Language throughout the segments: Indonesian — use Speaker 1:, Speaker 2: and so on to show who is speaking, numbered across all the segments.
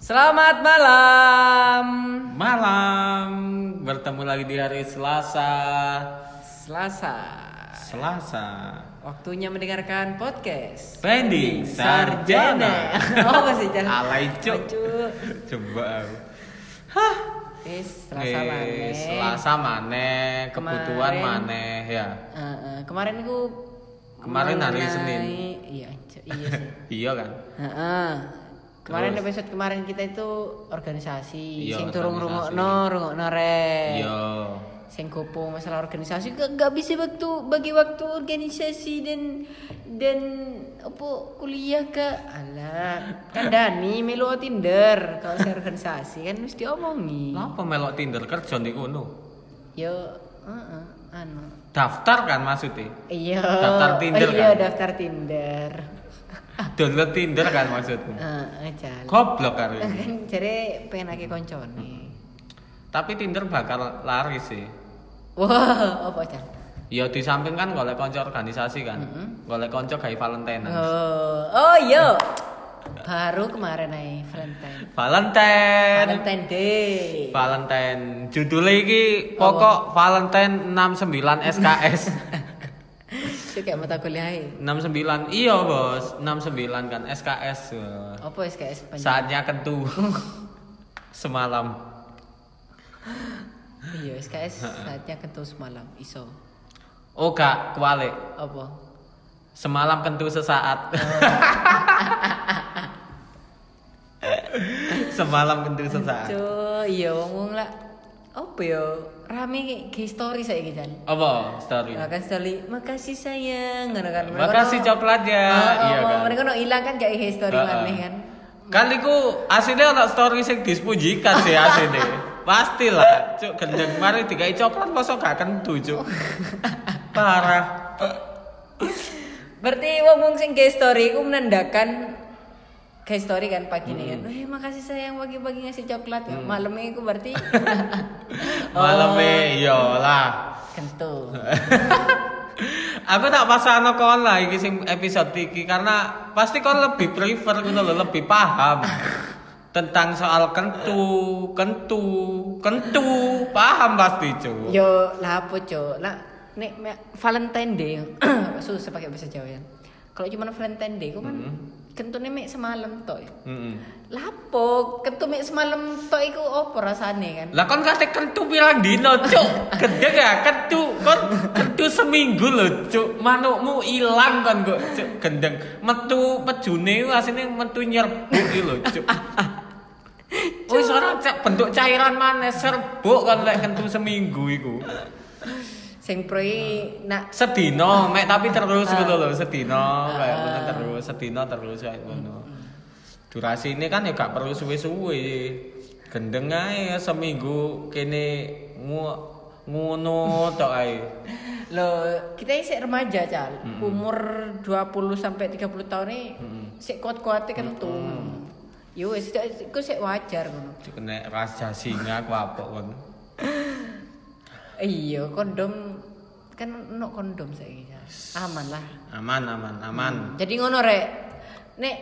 Speaker 1: Selamat malam.
Speaker 2: Malam bertemu lagi di hari Selasa.
Speaker 1: Selasa.
Speaker 2: Selasa.
Speaker 1: Waktunya mendengarkan podcast.
Speaker 2: Pending sarjana.
Speaker 1: oh masih jalan.
Speaker 2: Alay cuk.
Speaker 1: Cuk.
Speaker 2: Coba.
Speaker 1: Wis Selasa
Speaker 2: Eh,
Speaker 1: maneh.
Speaker 2: Selasa maneh, kebutuhan
Speaker 1: Kemarin-
Speaker 2: maneh ya.
Speaker 1: Eh, eh, kemarin ku
Speaker 2: Kemarin hari
Speaker 1: mengenai-
Speaker 2: Senin.
Speaker 1: Iya, Cuk, iya sih.
Speaker 2: Iya kan?
Speaker 1: Eh, eh. Kemarin
Speaker 2: Terus?
Speaker 1: episode kemarin kita itu organisasi,
Speaker 2: Iya,
Speaker 1: sing turung
Speaker 2: organisasi.
Speaker 1: rungokno, rungokno rek.
Speaker 2: Iya.
Speaker 1: sing gopo masalah organisasi gak, gak bisa waktu bagi waktu organisasi dan dan apa kuliah ke alah kan Dani melu Tinder kalau saya organisasi kan mesti omongi
Speaker 2: Lah apa melok Tinder kerja di kono?
Speaker 1: yo heeh, anu
Speaker 2: Daftar kan maksudnya?
Speaker 1: iya
Speaker 2: Daftar Tinder
Speaker 1: iya
Speaker 2: kan?
Speaker 1: daftar Tinder
Speaker 2: Download Tinder kan maksudmu?
Speaker 1: heeh jalan
Speaker 2: Goblok karo ini.
Speaker 1: kan jadi pengen ake koncone
Speaker 2: Tapi Tinder bakal laris sih.
Speaker 1: wah apa jan
Speaker 2: Ya di samping kan golek kanca organisasi kan. Golek kanca gawe Valentine.
Speaker 1: oh oh yo baru kemarin ae Valentine
Speaker 2: Valentine.
Speaker 1: Valentine Day
Speaker 2: Valentine. Judulnya iki pokok Valentine 69 SKS.
Speaker 1: Itu kayak mata kuliah ya.
Speaker 2: 69. Iya, Bos. 69 kan SKS.
Speaker 1: Apa SKS panjang?
Speaker 2: Saatnya kentu. Semalam.
Speaker 1: Iya, SKS saatnya kentu semalam, iso.
Speaker 2: Oh, gak kualik.
Speaker 1: Apa?
Speaker 2: Semalam kentu sesaat. Semalam kentu sesaat.
Speaker 1: Cuy, iya wong wong lah. Apa ya? Rame kayak kayak story saya gitu kan.
Speaker 2: Apa story?
Speaker 1: Makan story, makasih sayang, ngono kan. Mereka
Speaker 2: Iya. Makasih
Speaker 1: no-
Speaker 2: coklatnya.
Speaker 1: Oh, oh,
Speaker 2: Iya
Speaker 1: oh,
Speaker 2: kan.
Speaker 1: Mereka no hilang kan kayak kayak story
Speaker 2: Heeh.
Speaker 1: maneh kan.
Speaker 2: Kali ku aslinya anak story sing dispujikan sih aslinya. Pastilah, cuk gendeng mari dikai coklat masa gak kentu cuk. Parah.
Speaker 1: Berarti wong wong sing kayak story ku menandakan kayak story kan pagi ini
Speaker 2: Hmm.
Speaker 1: kan. Eh, makasih sayang pagi-pagi ngasih coklat. ya. Malamnya ku berarti Oh.
Speaker 2: Malamnya iya lah.
Speaker 1: kentu.
Speaker 2: Aku tak pasangno kon lah iki sing episode iki karena pasti kon lebih prefer ngono lho, lebih paham tentang soal kentu, kentu, kentu, paham pasti cuk.
Speaker 1: Yo, lah apa cok? Lah nek me- Valentine Day susah pakai bahasa Jawa ya. Kalau cuma Valentine Day ku kan kentune mek semalam tok. ya.
Speaker 2: Mm-mm.
Speaker 1: Lah apa kentu mek semalam tok iku opo rasane kan?
Speaker 2: Lah kon kate kentu pirang dino, Cuk? Gede ya kentu. Kon kentu seminggu lho, Cuk. Manukmu ilang kon kok, Cuk. Gendeng. Metu pejune ku asine metu nyerbuk iki lho, Cuk. Wis ora cek bentuk cairan maneh serbuk kon lek kentu seminggu iku.
Speaker 1: Sing proi nak
Speaker 2: Sedino, mek tapi terus gitu lho, sedino kayak ngono terus, sedino terus kayak ngono. Durasi ini kan ya gak perlu suwe-suwe. Gendeng ae ya seminggu kene ngu ngono tok ae.
Speaker 1: lo kita ini sik remaja cal. Umur 20 sampai 30 tahun ini sik kuat-kuate kentu. Yo wis iku sik wajar ngono.
Speaker 2: Cuk, Nek raja singa ku apa kon.
Speaker 1: Iya, kondom kan no kondom saiki. Cal. Aman lah.
Speaker 2: Aman aman aman.
Speaker 1: Jadi ngono rek. Nek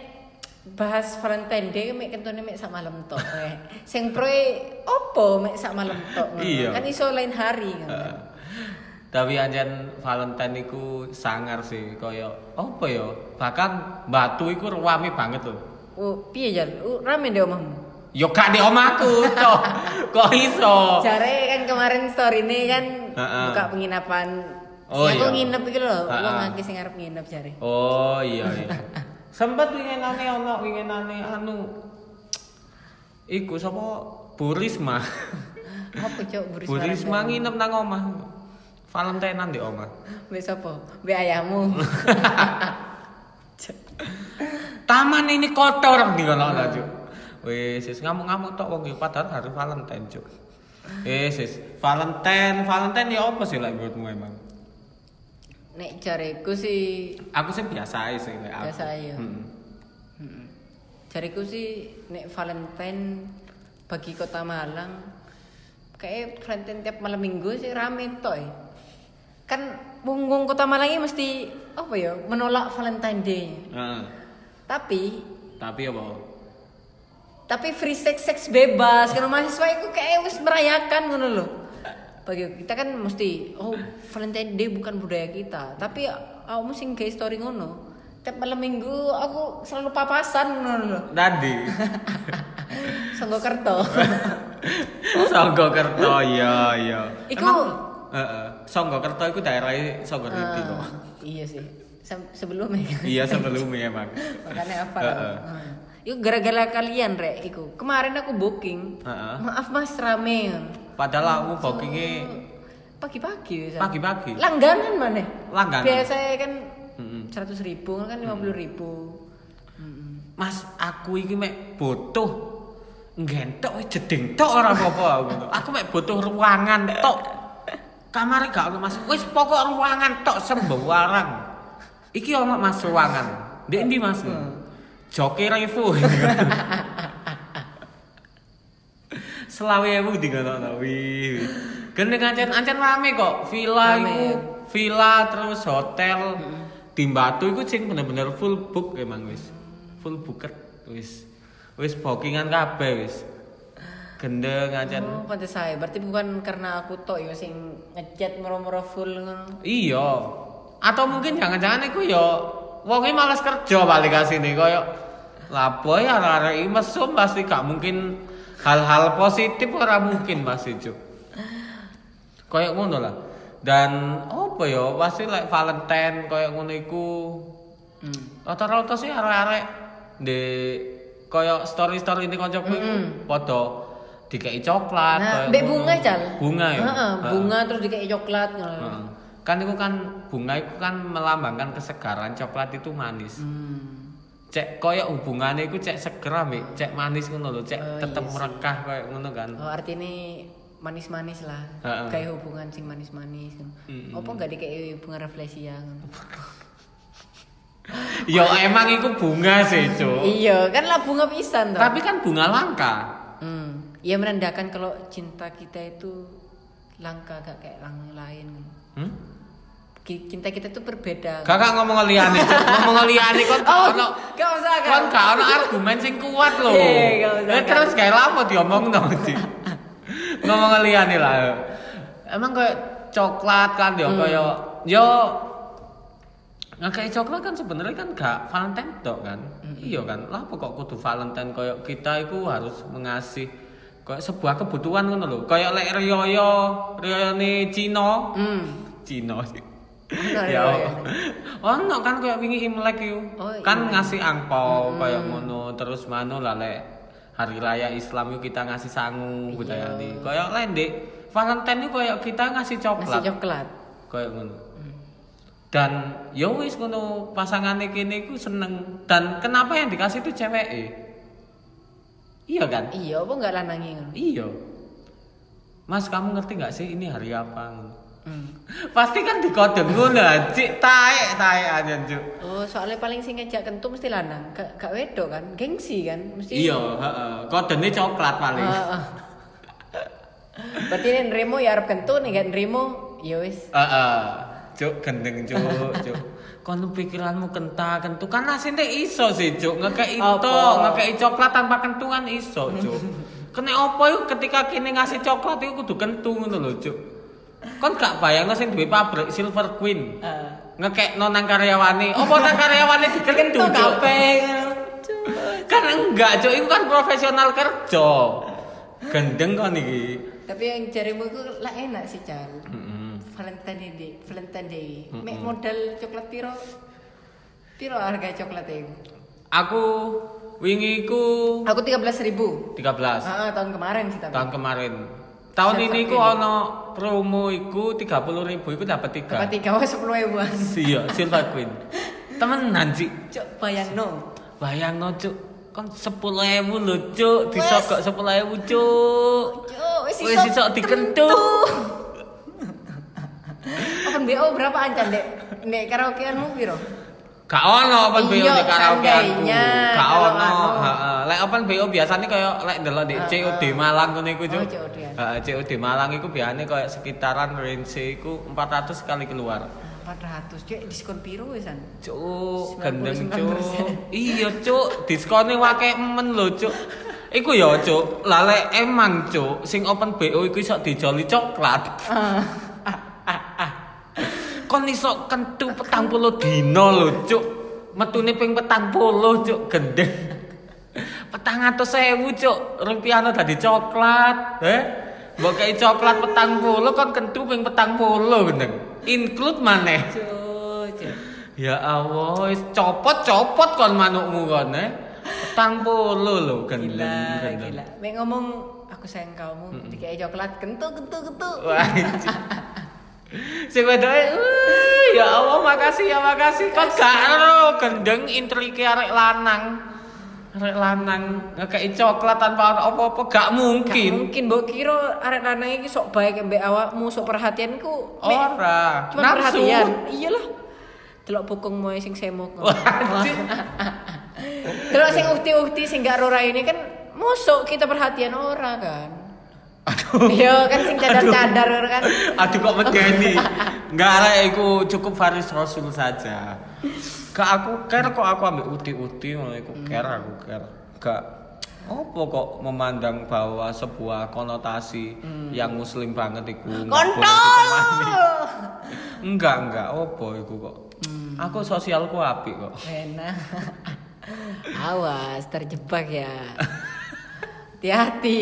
Speaker 1: bahas Valentine Day mek kentone mek sak malam tok rek. Sing proe opo mek sak malam tok ngono.
Speaker 2: Iya.
Speaker 1: Kan iso lain hari ngono.
Speaker 2: Tapi anjen Valentine iku sangar sih kaya apa ya? Bahkan batu iku ruwami banget lho.
Speaker 1: Oh, piye jan? Oh, rame deh omahmu.
Speaker 2: Yo gak di omaku, Cok. Kok iso?
Speaker 1: Jare kan kemarin story ini kan
Speaker 2: Oh. Heeh.
Speaker 1: buka penginapan.
Speaker 2: Oh,
Speaker 1: Sing aku
Speaker 2: iya.
Speaker 1: nginep iki lho,
Speaker 2: Heeh.
Speaker 1: wong akeh sing arep nginep jare.
Speaker 2: Oh iya iya. Sempat winginane ana winginane anu. Iku sapa Burisma.
Speaker 1: Apa cok buris
Speaker 2: Burisma nginep nang omah. Valentinean di omah.
Speaker 1: Mbek sapa? Mbek ayahmu.
Speaker 2: Taman ini kotor di kono ana, Cuk. Wis, sis ngamuk-ngamuk tok wong iki padahal hari Valentine, Cuk. Eh, sis, Valentine, Valentine ya apa sih lah menurutmu emang?
Speaker 1: Nek jareku sih
Speaker 2: Aku sih biasa aja sih lek aku. Hmm.
Speaker 1: Biasa aja.
Speaker 2: Mm-mm.
Speaker 1: Mm-mm. Jariku sih nek Valentine bagi kota Malang kayak Valentine tiap malam minggu sih rame toy. Kan wong wong kota Malang ini mesti apa ya menolak Valentine Day.
Speaker 2: Heeh.
Speaker 1: Tapi
Speaker 2: Tapi apa?
Speaker 1: tapi free sex seks bebas karena mahasiswa itu kayak wis merayakan ngono loh bagi kita kan mesti oh Valentine Day bukan budaya kita tapi aku mesti kayak story ngono tiap malam minggu aku selalu papasan ngono loh
Speaker 2: Tadi
Speaker 1: Sanggo kerto
Speaker 2: Songgo Kerto ya ya.
Speaker 1: Iku-
Speaker 2: Heeh. Songgo Kerto iku daerah Songgo Riti kok.
Speaker 1: Ah, iya sih Sem- sebelumnya
Speaker 2: Iya sebelumnya emang.
Speaker 1: makanya apa Hmm.
Speaker 2: Heeh.
Speaker 1: Yuk gara-gara kalian rek iku kemarin aku booking
Speaker 2: Heeh.
Speaker 1: maaf mas rame
Speaker 2: Padahal aku bookingnya
Speaker 1: pagi-pagi Sam.
Speaker 2: pagi-pagi.
Speaker 1: langganan mana
Speaker 2: Langganan.
Speaker 1: biasanya kan
Speaker 2: Mm-mm.
Speaker 1: seratus ribu kan lima puluh ribu
Speaker 2: Mas, aku iki mek butuh nggentok wis jeding tok ora apa-apa aku. Aku mek butuh ruangan tok. Kamare gak ono Mas. Wis pokok ruangan tok sembarang. Iki ono Mas ruangan. Ndek ndi Mas? Joki Revo. Selawe ewu di kono to. Wih. Gene ancen-ancen rame kok.
Speaker 1: Rame.
Speaker 2: Villa iku, villa terus hotel. Timbatu iku sing bener-bener full book emang wis. Full buket wis. Wis bookingan kabeh wis. Gendeng ancen.
Speaker 1: oh pantes saya berarti bukan karena aku tok ya sing ngechat moro-moro full ngono
Speaker 2: Iya. Atau mungkin jangan-jangan iku yo wonge malas kerja balik ke sini koyo lapo ya arek mesum pasti gak mungkin hal-hal positif ora mungkin pasti cuk. Koyo ngono lah. Dan apa yo pasti like Valentine koyo ngono iku Mm.
Speaker 1: Hmm.
Speaker 2: rata-rata sih arek-arek di koyo story-story ini kancaku iku padha dikei coklat
Speaker 1: nah
Speaker 2: koyo
Speaker 1: mbek
Speaker 2: ngono.
Speaker 1: bunga cal
Speaker 2: bunga ya
Speaker 1: Heeh,
Speaker 2: Heeh.
Speaker 1: bunga terus dikasih coklat ngono
Speaker 2: Heeh. kan itu kan bunga itu kan melambangkan kesegaran coklat itu manis
Speaker 1: Hmm.
Speaker 2: cek koyok hubungannya itu cek segera Mbak. cek manis ngono lho cek
Speaker 1: Oh, iya
Speaker 2: tetep
Speaker 1: sih.
Speaker 2: merekah koyok ngono kan
Speaker 1: Oh, artinya manis-manis lah.
Speaker 2: Heeh.
Speaker 1: Kayak hubungan sing manis-manis.
Speaker 2: Mm-mm. Oh.
Speaker 1: Apa enggak dikei bunga refleksia ngono.
Speaker 2: ya emang itu bunga sih cuk
Speaker 1: Iya, kan lah bunga pisan toh.
Speaker 2: tapi kan bunga langka
Speaker 1: Hmm. Ya menandakan kalau cinta kita itu langka gak kayak orang lain.
Speaker 2: hmm?
Speaker 1: Ki- Cinta kita itu berbeda.
Speaker 2: kakak ngomong liane cuk ngomong liane kon gak
Speaker 1: oh,
Speaker 2: ono
Speaker 1: gak usah
Speaker 2: kon
Speaker 1: kan.
Speaker 2: gak ono argumen sing kuat lho
Speaker 1: Iya, gak usah,
Speaker 2: Eh,
Speaker 1: gak
Speaker 2: terus kayak lama diomong dong Cik. ngomong liane lah ayo. emang kayak coklat kan yo
Speaker 1: Hmm.
Speaker 2: kayak yo Nah, kayak coklat kan sebenarnya kan gak Valentine tok kan.
Speaker 1: Hmm.
Speaker 2: Iya kan. Lah apa kok kudu Valentine koyo kita itu harus mengasih kayak sebuah kebutuhan ngono lho. Kayak lek riyoyo, riyone Cina.
Speaker 1: Hmm.
Speaker 2: Cina sih.
Speaker 1: Ono
Speaker 2: ya.
Speaker 1: riyoyo.
Speaker 2: Ono kan kayak wingi Imlek iku.
Speaker 1: Oh,
Speaker 2: kan
Speaker 1: Imlek.
Speaker 2: ngasih angpau kayak ngono terus mano lah lek hari raya Islam yuk kita ngasih sangu budaya ini. Kayak lain Dik. Valentine itu kayak kita ngasih
Speaker 1: Nasi
Speaker 2: coklat
Speaker 1: coklat.
Speaker 2: kayak ngono. Dan ya wis ngono pasangane kene iku seneng. Dan kenapa yang dikasih itu ceweke? Iya kan?
Speaker 1: Iya, apa enggak lanangi ngono.
Speaker 2: Iya. Mas kamu ngerti nggak sih ini hari apa? ngono?
Speaker 1: Hmm.
Speaker 2: Pasti kan dikode ngono, cik taek taek aja cuk.
Speaker 1: Oh, soalnya paling sing ngejak kentu mesti lanang, gak gak wedok kan, gengsi kan, mesti
Speaker 2: Iya, heeh. Kodene coklat paling.
Speaker 1: Heeh. Berarti ini nerimo ya arep kentut nih gak nerimo ya wis.
Speaker 2: Heeh. Cuk gendeng cuk, cuk. Kon pikiranmu kenta kentu kan asine iso sih cuk, ngekei
Speaker 1: Apa?
Speaker 2: to, ngekei coklat tanpa kentu kan iso cuk. Kene opo yuk ketika kene ngasih coklat iku kudu kentu ngono lho cuk. Kon gak bayangno sing duwe pabrik Silver Queen ngekekno nang karyawane. Opo nang karyawane dikentu
Speaker 1: Kentut
Speaker 2: cuk.
Speaker 1: kabeh.
Speaker 2: Kan enggak cuk, iku kan profesional kerja. Gendeng kon iki.
Speaker 1: Tapi yang jarimu itu lah enak sih Cal.
Speaker 2: Heeh.
Speaker 1: Valentine Day, Valentine Day. Mek modal coklat piro? Piro harga coklat e? itu?
Speaker 2: Aku wingi ku
Speaker 1: Aku 13.000 ribu
Speaker 2: 13.
Speaker 1: Ah, tahun kemarin sih tapi.
Speaker 2: tahun kemarin tahun
Speaker 1: Saya
Speaker 2: ini ku
Speaker 1: pakai.
Speaker 2: ono promo iku 30.000 ribu iku dapat tiga
Speaker 1: Apa tiga wah sepuluh ribuan?
Speaker 2: iya silver queen temenan sih
Speaker 1: Cok bayang no.
Speaker 2: bayang no cuk kan 10.000 ribu lho cuk disogok 10.000 ribu cuk
Speaker 1: Cok wis
Speaker 2: Wis iso dikentuk.
Speaker 1: Open BO berapa ancan dek? Dek karaokeanmu piro?
Speaker 2: gak ono open BO
Speaker 1: Iya,
Speaker 2: di karaoke aku
Speaker 1: seandainya.
Speaker 2: gak
Speaker 1: Kalau
Speaker 2: ono
Speaker 1: anu.
Speaker 2: heeh lek open BO biasanya kaya lek ndelok di COD Malang ngono iku cuk
Speaker 1: Oh, COD ya.
Speaker 2: Heeh, COD Malang iku biasanya kaya sekitaran range iku 400 kali keluar
Speaker 1: 400 cuy diskon piro wisan
Speaker 2: Cuk, gendeng cuk.
Speaker 1: 99%.
Speaker 2: Iya cuk, diskonnya wake emen lho cuk. Iku ya cuk, lale emang cuk, sing open BO iku iso dijoli coklat. Kon iso kentu petang puluh dino lho cuk. Metune ping petang puluh cuk, gendeng. Petang atau sewu cuk, rupiahnya tadi coklat. Eh? Mbok kei coklat petang puluh kon kentu ping petang puluh gendeng. Include maneh.
Speaker 1: Cucu.
Speaker 2: Ya Allah, wis copot-copot kon manukmu kon eh. Petang puluh lho gendeng.
Speaker 1: Gila,
Speaker 2: gendeng.
Speaker 1: gila. Mek ngomong aku sayang kamu, dikei coklat kentu kentu kentu.
Speaker 2: Wah, anjing. Sing wedoke, "Uh, ya Allah makasih ya makasih. Kon gak ero gendeng intriki arek lanang. Arek lanang ngekeki coklat tanpa ana apa-apa gak
Speaker 1: Gak
Speaker 2: mungkin.
Speaker 1: mungkin mbok kira arek lanang iki sok baik mbek awakmu, sok perhatianku. Mek,
Speaker 2: Ora.
Speaker 1: Cuma
Speaker 2: Nafsu.
Speaker 1: perhatian. Iyalah. Delok bokong moe sing semok. ngono.
Speaker 2: Wah, anjing.
Speaker 1: Delok sing ukti-ukti sing gak rora ini kan mosok kita perhatian ora kan.
Speaker 2: Aduh.
Speaker 1: Iya kan sing cadar-cadar ora kan.
Speaker 2: Aduh kok medeni. Enggak lah iku cukup Faris Rasul saja. Gak aku care kok aku ambil uti-uti malah aku care aku care. Gak apa kok memandang bahwa sebuah konotasi yang muslim banget iku nggak boleh
Speaker 1: Kontol.
Speaker 2: ditemani. Enggak enggak apa iku kok. Aku sosialku apik kok.
Speaker 1: Enak. Awas terjebak ya. Hati-hati.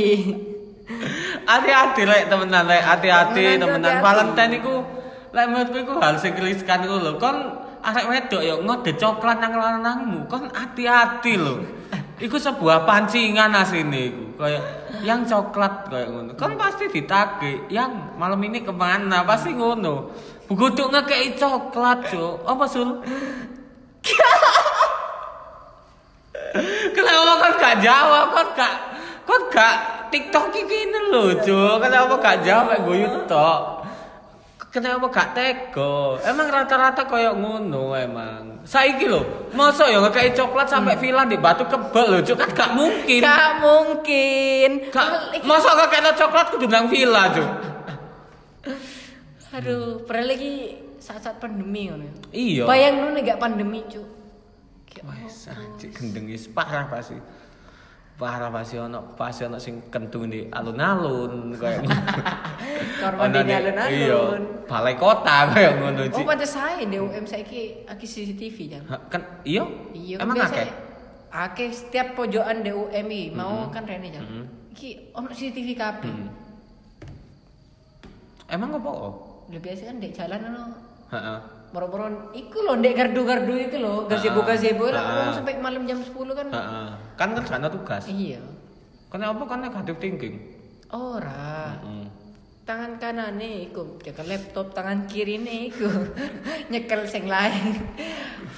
Speaker 2: Hati-hati lek temenan lek hati-hati
Speaker 1: Temenan,
Speaker 2: temenan
Speaker 1: hati-hati.
Speaker 2: Valentine iku lek menurutku iku hal sing riskan iku lho. Kon arek wedok ya ngode coklat nang lanangmu, kon hati-hati lho. Iku sebuah pancingan asline iku. Kayak yang coklat kayak ngono. Kon pasti ditagih, yang malam ini kemana? Pasti ngono. Begitu ngekei coklat, Cuk. Apa, Sul? Kenapa kan gak jawab? Kan gak kan gak TikTok iki ini lho, Jo. Kenapa gak jawab gue tok? Kenapa gak tega? Emang rata-rata koyo ngono emang. Saiki lho, masa ya ngekei coklat sampai villa di Batu Kebel lho, Jo. Kan gak mungkin.
Speaker 1: Hmm. Gak mungkin.
Speaker 2: Gak, masa ngekei coklat kudu nang villa, Jo.
Speaker 1: Aduh, pernah lagi saat-saat pandemi ngono.
Speaker 2: Iya.
Speaker 1: Bayang lu nih gak pandemi, Cuk. Kayak,
Speaker 2: Wes anjir gendeng is parah pasti. Parah pasti ono pasti ono sing kentu di alun-alun kayak ngono.
Speaker 1: Korban
Speaker 2: Ono
Speaker 1: di
Speaker 2: nih, Iya,
Speaker 1: alun-alun.
Speaker 2: balai kota kayak ngono
Speaker 1: Oh,
Speaker 2: Ci.
Speaker 1: pantes saya DUM saiki aki CCTV ya.
Speaker 2: Hah, Kan iya?
Speaker 1: Iya,
Speaker 2: Emang
Speaker 1: biasa
Speaker 2: akeh.
Speaker 1: akeh setiap pojokan DUM iki
Speaker 2: Mm-hmm.
Speaker 1: mau kan rene ya. Iki ono CCTV kabeh.
Speaker 2: Hmm. Emang apa? oh? Mm-hmm.
Speaker 1: Lah biasa kan dek jalan ono
Speaker 2: Heeh.
Speaker 1: moro-moro iku lho dek gardu-gardu itu lho, gazebo-gazebo lah
Speaker 2: Ah.
Speaker 1: orang sampai malam jam 10 kan.
Speaker 2: Heeh. Kan kerjaan tugas.
Speaker 1: Iya.
Speaker 2: Kenapa kan negatif thinking? Hmm.
Speaker 1: Ora.
Speaker 2: Heeh.
Speaker 1: Tangan kanane iku nyekel laptop, tangan kirine iku nyekel sing lain.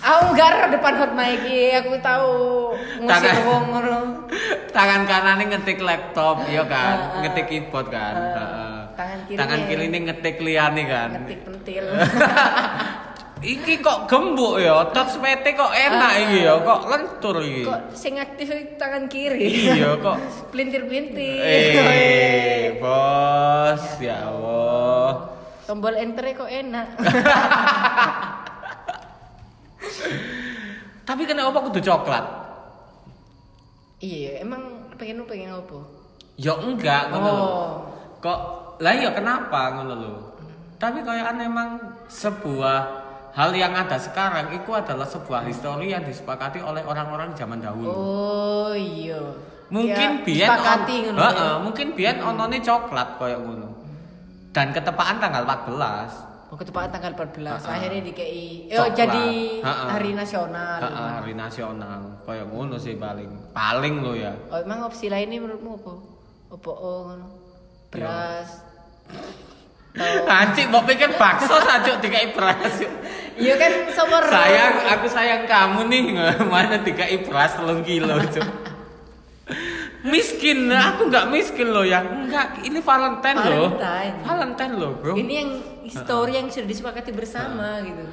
Speaker 1: Aku gar depan hot mic iki, aku tahu ngusir
Speaker 2: Tangan-
Speaker 1: wong ngono.
Speaker 2: Tangan kanan ngetik laptop, iya kan?
Speaker 1: Heeh.
Speaker 2: Ngetik keyboard kan.
Speaker 1: Heeh.
Speaker 2: Heeh.
Speaker 1: Tangan kirinya-
Speaker 2: Tangan kiri ini ngetik liane kan.
Speaker 1: Ngetik pentil.
Speaker 2: Iki kok gembuk ya, touch PT kok enak
Speaker 1: Ah.
Speaker 2: iki ya, kok lentur iki.
Speaker 1: Kok sing aktif iki tangan kiri.
Speaker 2: Iya kok.
Speaker 1: Pelintir-pelintir.
Speaker 2: Eh, bos, ya Allah.
Speaker 1: Tombol enter kok enak.
Speaker 2: Tapi kenapa kudu coklat?
Speaker 1: iya, emang pengen lu pengen apa?
Speaker 2: Ya enggak ngono lho.
Speaker 1: Oh.
Speaker 2: Kok lah ya kenapa ngono lho. Tapi kayak memang sebuah hal yang ada sekarang itu adalah sebuah histori yang disepakati oleh orang-orang zaman dahulu.
Speaker 1: Oh, iya.
Speaker 2: mungkin
Speaker 1: biar
Speaker 2: biyen
Speaker 1: disepakati
Speaker 2: on-
Speaker 1: ngono.
Speaker 2: Heeh,
Speaker 1: ya.
Speaker 2: mungkin biyen onone coklat kayak ngono. Dan ketepaan tanggal 14.
Speaker 1: Oh, ketepaan tanggal 14.
Speaker 2: Ha-ha.
Speaker 1: Akhirnya dikei eh,
Speaker 2: Coklat.
Speaker 1: jadi
Speaker 2: Ha-ha.
Speaker 1: hari nasional.
Speaker 2: Heeh, hari nasional kayak ngono sih paling. Paling lo ya.
Speaker 1: Oh, emang opsi lainnya menurutmu apa? Apa oh, ngono?
Speaker 2: Iya.
Speaker 1: Beras. Atau-
Speaker 2: Anjing mau pikir bakso sajuk dikai beras. yuk.
Speaker 1: Iya kan sumber.
Speaker 2: Sayang, aku sayang kamu nih. Mana dikai beras telung kilo, Cuk. Miskin, aku nggak miskin loh ya. Enggak, ini Valentine loh.
Speaker 1: Valentine.
Speaker 2: Valentine loh, Bro.
Speaker 1: Ini yang histori yang sudah disepakati bersama gitu.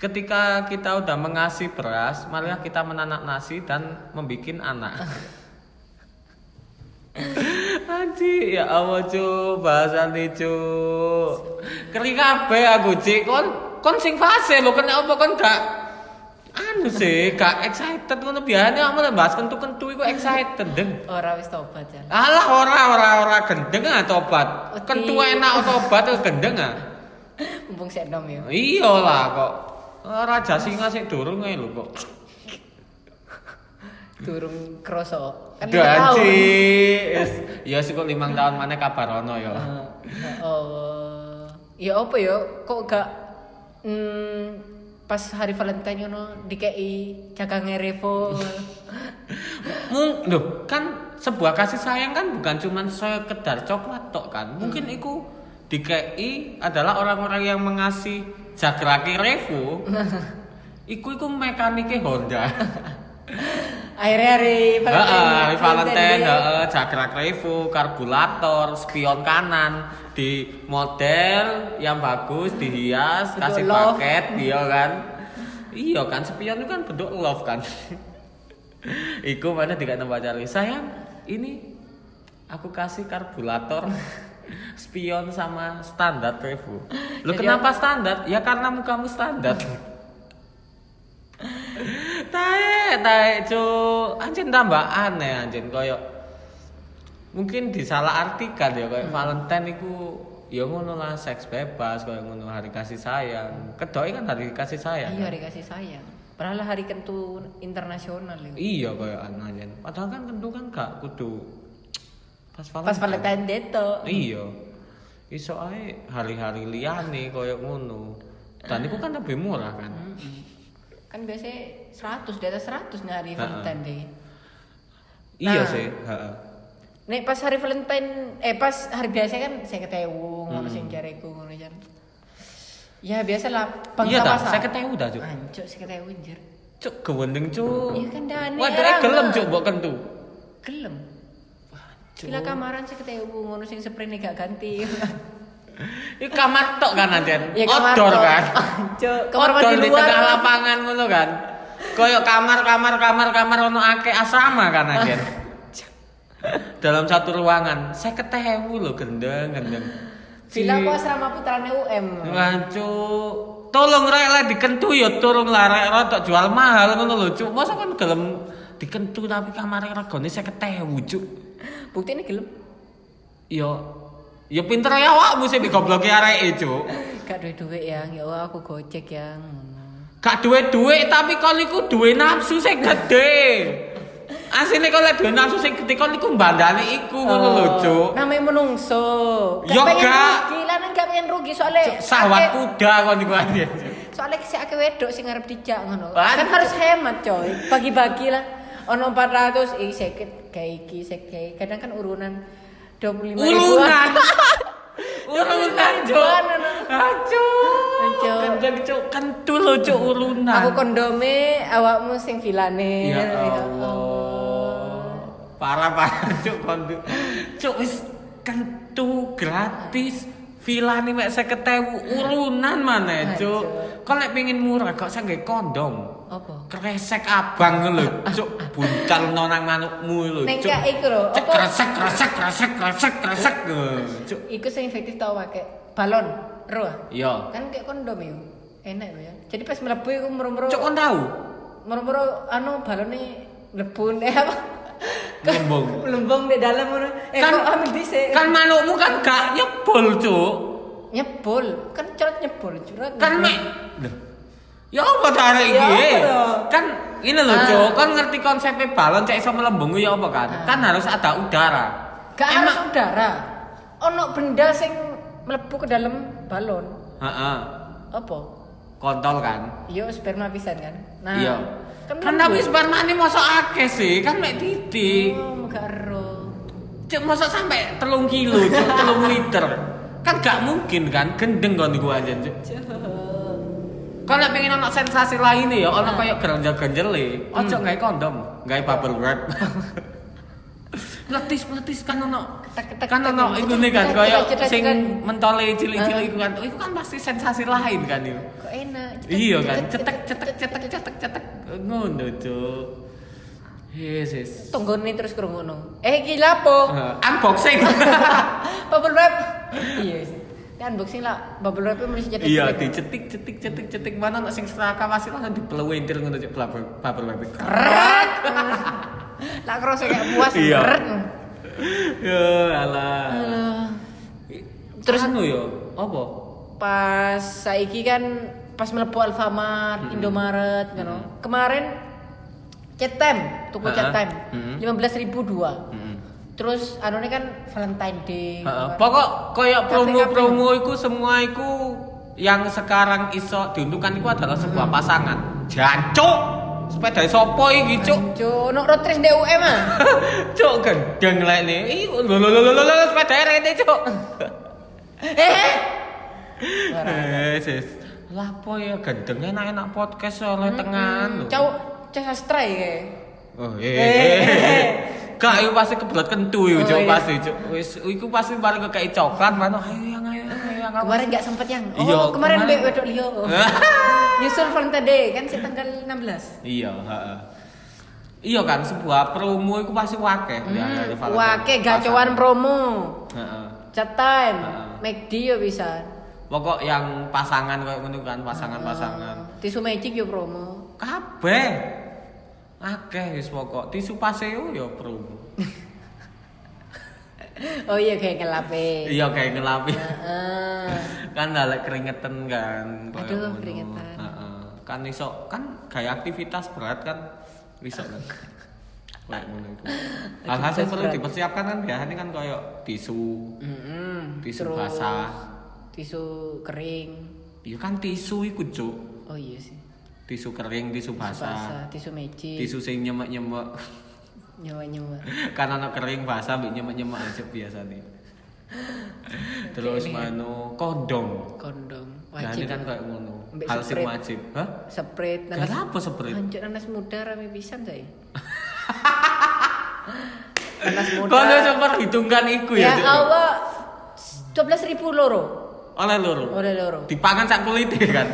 Speaker 2: Ketika kita udah mengasih beras, marilah kita menanak nasi dan membikin anak. Anji, ya Allah cu, bahasa nih cu. Kering kabeh aku cik, kon kon sing fase lo kena apa kon gak anu sih gak excited ngono biasanya kamu bahas kentu-kentu iku excited deng
Speaker 1: Ora wis tobat ya.
Speaker 2: alah ora ora ora gendeng ah tobat
Speaker 1: Wedi.
Speaker 2: kentu enak tobat terus gendeng ah
Speaker 1: Mumpung sik nom ya.
Speaker 2: iya lah kok raja singa sih durung ae lho kok
Speaker 1: Durung kroso. Kan lima tahun.
Speaker 2: Gaji, yes. ya sih kok limang tahun mana kabar ono yo.
Speaker 1: Eh, Oh. Ya apa ya? Kok gak hmm, pas hari Valentine ngono dikei cakange Revo.
Speaker 2: Mung, loh, kan sebuah kasih sayang kan bukan cuman sekedar coklat tok
Speaker 1: Hmm.
Speaker 2: kan. Mungkin iku di KI adalah orang-orang yang mengasih jagraki revo. iku iku mekaniknya Honda.
Speaker 1: Akhirnya hari
Speaker 2: Heeh, hari Valentine,
Speaker 1: dia-
Speaker 2: heeh, jagrak revo, karburator, spion kanan di model yang bagus, dihias,
Speaker 1: Bentuk
Speaker 2: kasih
Speaker 1: love.
Speaker 2: paket, iya kan. Iya kan, spion itu kan bentuk love kan. Iku mana tidak tempat cari sayang. Ini aku kasih karburator, spion sama standar revo. Lo
Speaker 1: Jadi
Speaker 2: kenapa standar? Ya karena mukamu standar. Tae, tae, cuk. Anjir tambah aneh anjir koyo mungkin disalah artikan ya
Speaker 1: Hmm.
Speaker 2: kayak Valentine iku ya ngono lah seks bebas koyo ngono hari kasih sayang. Kedoi kan hari kasih sayang.
Speaker 1: Iya hari kasih sayang. Padahal hari kentu internasional ya.
Speaker 2: Iya koyo anu anjir. Padahal kan tentu kan gak kudu pas
Speaker 1: Pas Valentine Day toh.
Speaker 2: Iya. Iso ae hari-hari liyane koyo ngono. Dan itu kan lebih murah kan.
Speaker 1: Mm-mm. Kan biasanya 100 di atas 100 nih hari
Speaker 2: Ha-ha.
Speaker 1: Valentine Day.
Speaker 2: Iya
Speaker 1: Nah.
Speaker 2: sih, heeh.
Speaker 1: Nek pas hari Valentine eh pas hari biasa kan saya ketemu ngono sing jareku ngono jan. Ya biasalah
Speaker 2: Hmm.
Speaker 1: bangsa
Speaker 2: Iya dah,
Speaker 1: pasar.
Speaker 2: saya ketemu dah, Cuk.
Speaker 1: Ancuk saya ketemu anjir.
Speaker 2: Cuk, gewendeng cuk.
Speaker 1: Iya kan dane.
Speaker 2: Wadah
Speaker 1: Rama.
Speaker 2: gelem cuk mbok kentu.
Speaker 1: Gelem. Gila kamaran saya ketemu ngono sing sprene gak ganti.
Speaker 2: Iki kamar tok kan anjen.
Speaker 1: Ya, kamar
Speaker 2: Outdoor
Speaker 1: tok.
Speaker 2: kan.
Speaker 1: Cuk, kamar mandi
Speaker 2: Outdoor di
Speaker 1: luar.
Speaker 2: tengah lapangan ngono kan. Koyo kamar kamar kamar kamar ono akeh asrama kan anjen. Dalam satu ruangan, saya ketemu lo gendeng gendeng.
Speaker 1: Villa ku asrama putrane UM.
Speaker 2: Wancuk. Tolong rek lah dikentu yo turun lah rek rotok jual mahal ngono lho cuk. Masa kan gelem dikentu tapi kamar regane 50.000 cuk.
Speaker 1: Bukti ini gelem.
Speaker 2: Yo yo pinter ya awakmu sing digobloki areke cuk.
Speaker 1: Gak duwe-duwe yang, ya Allah aku gojek yang.
Speaker 2: Gak duwe duit tapi kon iku duwe nafsu sing gede. Asline kon lek duwe nafsu sing gede kon iku bandane iku ngono
Speaker 1: Oh.
Speaker 2: lho, Cuk.
Speaker 1: Namanya menungso.
Speaker 2: Ya,
Speaker 1: pengen
Speaker 2: gak.
Speaker 1: rugi, lanang gak pengen rugi soalnya. akeh-
Speaker 2: Sawat kuda kon iku aja.
Speaker 1: Soalnya si akeh wedok sing arep dijak ngono.
Speaker 2: Ban.
Speaker 1: Kan harus hemat, coy. Bagi-bagi lah. Ono 400 i seket kayak iki seket kayak iki. kadang kan urunan 25
Speaker 2: Urunan. Urunan, Cuk.
Speaker 1: Urunan.
Speaker 2: Acuk.
Speaker 1: Cuk.
Speaker 2: Kendang Cuk, kentul lho Cuk urunan.
Speaker 1: Aku kondome awakmu sing vilane. gitu.
Speaker 2: Ya Allah. Parah parah cuk kondu. Cuk wis kentu gratis. Villa nih mek 50.000 urunan mana cuk. Kau lek pengin murah kok sangge kondom.
Speaker 1: Apa?
Speaker 2: Kresek abang lho cuk buncal nonang manukmu lho
Speaker 1: Nek
Speaker 2: cuk.
Speaker 1: gak iku lho,
Speaker 2: Cek
Speaker 1: apa?
Speaker 2: kresek kresek kresek kresek kresek eh, cuk.
Speaker 1: Iku sing efektif tau pakai balon, roh.
Speaker 2: Yo.
Speaker 1: Kan kayak kondom ya. Enak ya. Jadi pas mlebu iku merem-merem.
Speaker 2: Cuk kon tahu?
Speaker 1: Merem-merem anu balone mlebu eh apa?
Speaker 2: Melembung.
Speaker 1: Melembung di dalam ngono. Eh
Speaker 2: Kan-
Speaker 1: kok ambil dhisik.
Speaker 2: Kan manukmu kan gak nyebol cuk.
Speaker 1: nyebol kan curhat nyebol curhat
Speaker 2: kan mek Loh. ya apa cara iki
Speaker 1: Ya apa
Speaker 2: eh?
Speaker 1: dong?
Speaker 2: kan ini loh
Speaker 1: Ah.
Speaker 2: Jo kan ngerti konsepnya balon cek iso melembung ku ya apa kan kan harus ada udara
Speaker 1: gak harus udara ono benda sing mlebu ke dalam balon
Speaker 2: Heeh.
Speaker 1: apa
Speaker 2: kontol kan
Speaker 1: iya sperma pisan kan nah
Speaker 2: iya
Speaker 1: kan
Speaker 2: kan tapi sperma ini mosok akeh sih kan mek titik
Speaker 1: oh gak ero
Speaker 2: cek mosok sampai telung kilo cek telung liter kan gak mungkin kan gendeng kan gua aja cek kalau pengen ono sensasi lain ya
Speaker 1: Ah.
Speaker 2: ono kayak geranjal ganjele ojo
Speaker 1: Hmm.
Speaker 2: gawe kondom gawe bubble wrap peletis peletis kan ono
Speaker 1: Tek-tek-tek.
Speaker 2: kan ono iku nih kan
Speaker 1: Cetek-cetek,
Speaker 2: kayak
Speaker 1: cetek-cetek.
Speaker 2: sing mentole cilik-cilik iku kan Oh, iku kan pasti sensasi lain kan itu
Speaker 1: kok enak cetek,
Speaker 2: iya kan cetek cetek cetek cetek cetek ngono cuk Yesus
Speaker 1: tonggone terus kerungono eh gila po
Speaker 2: unboxing
Speaker 1: bubble wrap iya sih Dan unboxing lah bubble wrap mesti jadi.
Speaker 2: Iya, dicetik cetik cetik cetik mana nak sing seraka masih langsung dipeluentir ngono cuk babel babel babel.
Speaker 1: Keret. Lah kerasa kayak puas
Speaker 2: Iya.
Speaker 1: keret.
Speaker 2: Ya alah.
Speaker 1: Aduh.
Speaker 2: Terus anu yo, apa?
Speaker 1: Pas saiki kan pas melepuh Alfamart, Indomaret, kan. oh. Kemarin cetem, tuku
Speaker 2: Ha-ha.
Speaker 1: cetem,
Speaker 2: Hmm.
Speaker 1: lima belas ribu dua.
Speaker 2: Heeh.
Speaker 1: Terus anu ini kan Valentine Day.
Speaker 2: Heeh. Pokok koyo
Speaker 1: Kafe-kafe.
Speaker 2: promo-promo iku semua iku yang sekarang iso diuntungkan iku adalah sebuah
Speaker 1: Hmm.
Speaker 2: pasangan. Jancuk. Sepeda sopo iki cuk?
Speaker 1: Cuk, no road race DUM ah.
Speaker 2: Cuk gendeng lek ne. Ih, lho lho lho lho lho sepeda rene cuk.
Speaker 1: Eh. Barang.
Speaker 2: Eh, sis. Lah po ya gendeng enak-enak podcast ya, oleh
Speaker 1: Hmm,
Speaker 2: tengan lho.
Speaker 1: Cau cau sastra ya.
Speaker 2: Oh,
Speaker 1: Eh.
Speaker 2: eh. Kak, iku pasti kebelet kentu iku,
Speaker 1: Oh,
Speaker 2: Cuk,
Speaker 1: iya.
Speaker 2: pasti, Cuk. Wis, iku pasti bareng kekei coklat, mano ayo yang ayo ayo yang ayo.
Speaker 1: Kemarin nggak sempet yang. Oh,
Speaker 2: Iya,
Speaker 1: kemarin
Speaker 2: kemarin.
Speaker 1: mbek wedok liyo. Nyusul Valentine Day kan sih tanggal 16.
Speaker 2: Iya, heeh. Iya kan sebuah promo iku pasti wakeh. Ya,
Speaker 1: Hmm, Wah, kayak gacoan promo.
Speaker 2: Heeh.
Speaker 1: Chat time,
Speaker 2: Heeh.
Speaker 1: McD ya bisa.
Speaker 2: Pokok yang pasangan kayak ngono kan, pasangan-pasangan.
Speaker 1: Tisu magic ya promo.
Speaker 2: Kabeh. Akeh wis pokok tisu paseo ya promo.
Speaker 1: Oh iya kayak ngelape.
Speaker 2: Iya kayak ngelapi.
Speaker 1: Heeh.
Speaker 2: kan lek keringetan kan kayak
Speaker 1: Aduh,
Speaker 2: ngono.
Speaker 1: keringetan.
Speaker 2: Heeh. kan iso kan gaya aktivitas berat kan iso kan kayak ngono iku alhasil
Speaker 1: Aktivitas
Speaker 2: perlu
Speaker 1: berat.
Speaker 2: dipersiapkan kan biasanya kan koyo tisu
Speaker 1: Heeh.
Speaker 2: Tisu
Speaker 1: Terus,
Speaker 2: basah.
Speaker 1: Tisu kering.
Speaker 2: iya kan tisu iku cuk
Speaker 1: Oh iya sih.
Speaker 2: tisu kering tisu
Speaker 1: Tisu
Speaker 2: basah
Speaker 1: basah, tisu magic.
Speaker 2: tisu sing nyemek nyemek
Speaker 1: Nyawa-nyawa.
Speaker 2: kan ana kering basah mbek nyemek nyemek aja biasanya terus
Speaker 1: Oke.
Speaker 2: mano kondom
Speaker 1: Kondom.
Speaker 2: Biasanya
Speaker 1: Wajib.
Speaker 2: kan kayak ngono
Speaker 1: Mbek
Speaker 2: hal sing
Speaker 1: spray.
Speaker 2: wajib hah
Speaker 1: Seprit. nanas-
Speaker 2: kenapa seperti
Speaker 1: Hancur nanas muda rame pisan saya. nanas muda.
Speaker 2: Kalau sempat hitungkan iku
Speaker 1: ya
Speaker 2: ya. Cuk?
Speaker 1: Allah, dua belas ribu loro.
Speaker 2: Oleh loro.
Speaker 1: Oleh loro.
Speaker 2: Dipangan sak kulite kan.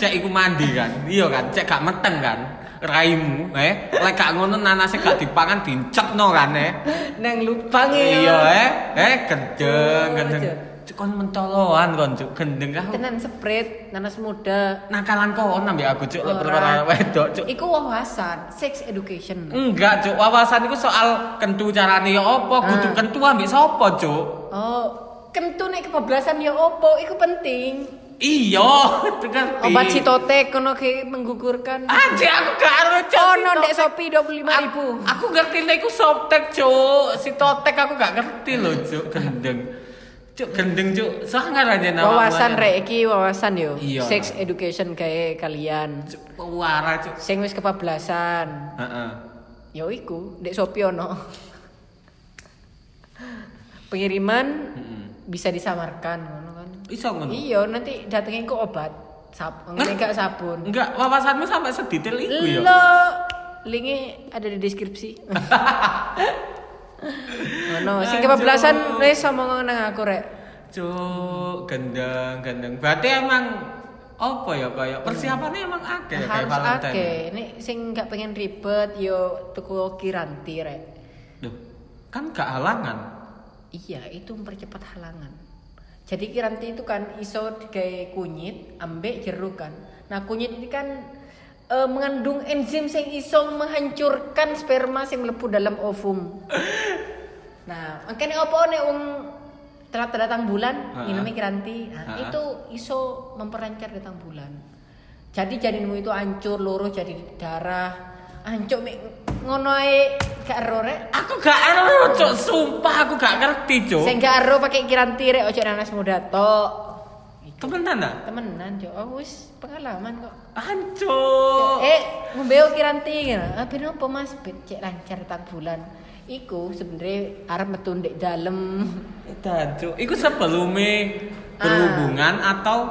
Speaker 2: Cek iku mandi kan. Iya kan, cek gak meteng kan. Raimu, eh, lek gak ngono nanase gak dipangan dincetno kan eh.
Speaker 1: Nang lubang ya.
Speaker 2: Iya eh, eh gendeng,
Speaker 1: Oh,
Speaker 2: gendeng.
Speaker 1: Cuk.
Speaker 2: Cuk kon mentoloan kon cuk gendeng kah.
Speaker 1: Tenan seprit, nanas muda.
Speaker 2: Nakalan kon ambek aku cuk lek
Speaker 1: Oh, Ora.
Speaker 2: perkara wedok cuk.
Speaker 1: Iku wawasan, sex education.
Speaker 2: Enggak cuk, wawasan iku soal kentu carane ya apa, kudu
Speaker 1: Ah.
Speaker 2: kentu ambek sapa cuk.
Speaker 1: Oh, kentu nek kebablasan ya opo, iku penting.
Speaker 2: Iya, ngerti.
Speaker 1: Obat sitotek kono ke menggugurkan.
Speaker 2: Aja aku gak ero Ah, cuk. Ah,
Speaker 1: Kono ndek Shopee 25 ribu.
Speaker 2: Aku- Aku ngerti nek iku softtek, Cuk. Si totek aku gak ngerti lho, Cuk. Gendeng. Cuk, gendeng, Cuk. Sangar aja nama.
Speaker 1: Wawasan rek iki wawasan yo.
Speaker 2: Iya.
Speaker 1: Sex education kayak kalian.
Speaker 2: Cuk, pewara, Cuk.
Speaker 1: Sing wis kebablasan.
Speaker 2: Heeh.
Speaker 1: Ya iku, Dek Shopee ono. Pengiriman
Speaker 2: Heeh.
Speaker 1: bisa disamarkan ngono kan.
Speaker 2: Iso ngono.
Speaker 1: Iya, nanti datengin kok obat. Sab,
Speaker 2: Ngerti.
Speaker 1: enggak sabun.
Speaker 2: Enggak, wawasanmu sampai sedetail iku ya.
Speaker 1: Lo linknya ada di deskripsi. Ngono, sing
Speaker 2: Anjur.
Speaker 1: kebablasan wis omong nang aku rek.
Speaker 2: Cuk, gendeng, gendeng. Berarti emang apa ya kayak persiapannya emang akeh ya, kayak
Speaker 1: Hmm. Harus
Speaker 2: Valentine.
Speaker 1: akeh. Nek sing gak pengen ribet yo tuku kiranti rek.
Speaker 2: Duh, kan gak halangan.
Speaker 1: Iya, itu mempercepat halangan. Jadi kiranti itu kan iso kayak kunyit, ambek jeruk kan. Nah kunyit ini kan eh, mengandung enzim yang iso menghancurkan sperma yang melepuh dalam ovum. Nah, makanya apa nih um telat datang bulan,
Speaker 2: Ha-ha.
Speaker 1: minumnya kiranti. Nah,
Speaker 2: Ha-ha.
Speaker 1: itu iso memperlancar datang bulan. Jadi janinmu itu hancur, luruh jadi darah, hancur ngono ae gak ero rek.
Speaker 2: Aku gak ero, Cuk. Sumpah aku gak ngerti, Cuk.
Speaker 1: Sing gak ero pakai kiranti rek ojo nanas muda tok.
Speaker 2: Temenan ah?
Speaker 1: Temenan yo, oh, wis pengalaman kok.
Speaker 2: Hancur.
Speaker 1: Eh, ngombeo kiranti ngono. Ah ben opo Mas? Ben cek lancar tak bulan. Iku sebenarnya arep metu ndek dalem.
Speaker 2: Dancuk, itu sebelumnya berhubungan atau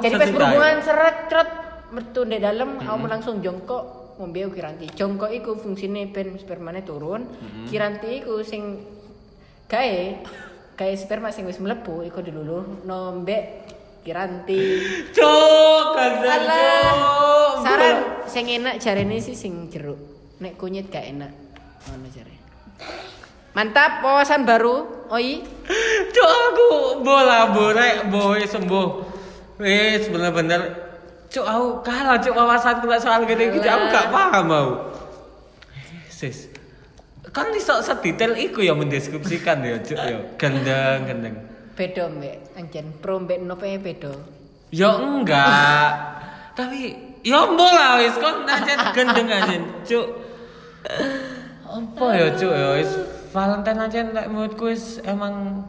Speaker 1: Ah. Jadi pas
Speaker 2: sesudahnya?
Speaker 1: berhubungan seret cret metu ndek dalem, awakmu langsung jongkok ngombeo kiranti. Jongkok iku fungsine ben spermane turun. Kiranti iku sing gae gae sperma sing wis mlebu iku diluluh nombek kiranti.
Speaker 2: Cuk, ganda
Speaker 1: Alah,
Speaker 2: cuk.
Speaker 1: saran sing enak jarene sih sing jeruk. Nek kunyit gak enak. Ngono jare. Mantap wawasan baru. Oi.
Speaker 2: Cuk aku bola borek boy sembuh. Wis bener-bener cuk aku kalah cuk wawasanku lah soal gede gitu aku gak paham aku. Sis. Kan iso sedetail iku ya mendeskripsikan ya cuk ya. Gendeng gendeng.
Speaker 1: Bedo mbek anjen pro mbek e nope bedo.
Speaker 2: Ya enggak. Tapi ya mbok lah wis kon aja gendeng aja cuk. Apa ya cuk ya wis Valentine aja nek menurutku wis emang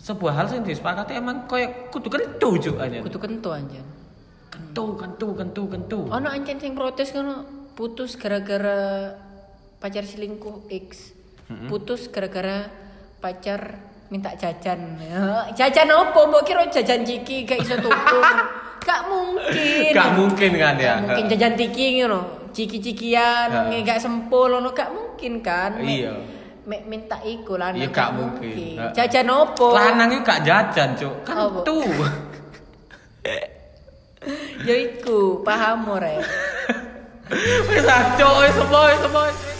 Speaker 2: sebuah hal sing disepakati emang koyo kudu kentu cuk aja.
Speaker 1: Kudu kento anjen.
Speaker 2: Kentu kentu kentu kentu.
Speaker 1: Ono anjen sing protes ngono putus gara-gara pacar selingkuh X. Putus gara-gara pacar minta jajan. Ya, Jajan opo? Mbok kira jajan ciki gak iso tuku. Gak mungkin.
Speaker 2: Gak mungkin kan
Speaker 1: Gak
Speaker 2: ya.
Speaker 1: mungkin jajan tiki ngono. Ciki-cikian,
Speaker 2: Heeh.
Speaker 1: gak sempol ngono gak mungkin kan. Mek-
Speaker 2: Iya.
Speaker 1: Mek minta iku lah.
Speaker 2: Iya,
Speaker 1: nang
Speaker 2: gak mungkin. Heeh.
Speaker 1: Jajan opo?
Speaker 2: Lanang itu gak jajan cuk.
Speaker 1: Apa?
Speaker 2: Kentu.
Speaker 1: Ya iku, paham ora ya?
Speaker 2: Wis ah, cuk wis semua wis semua.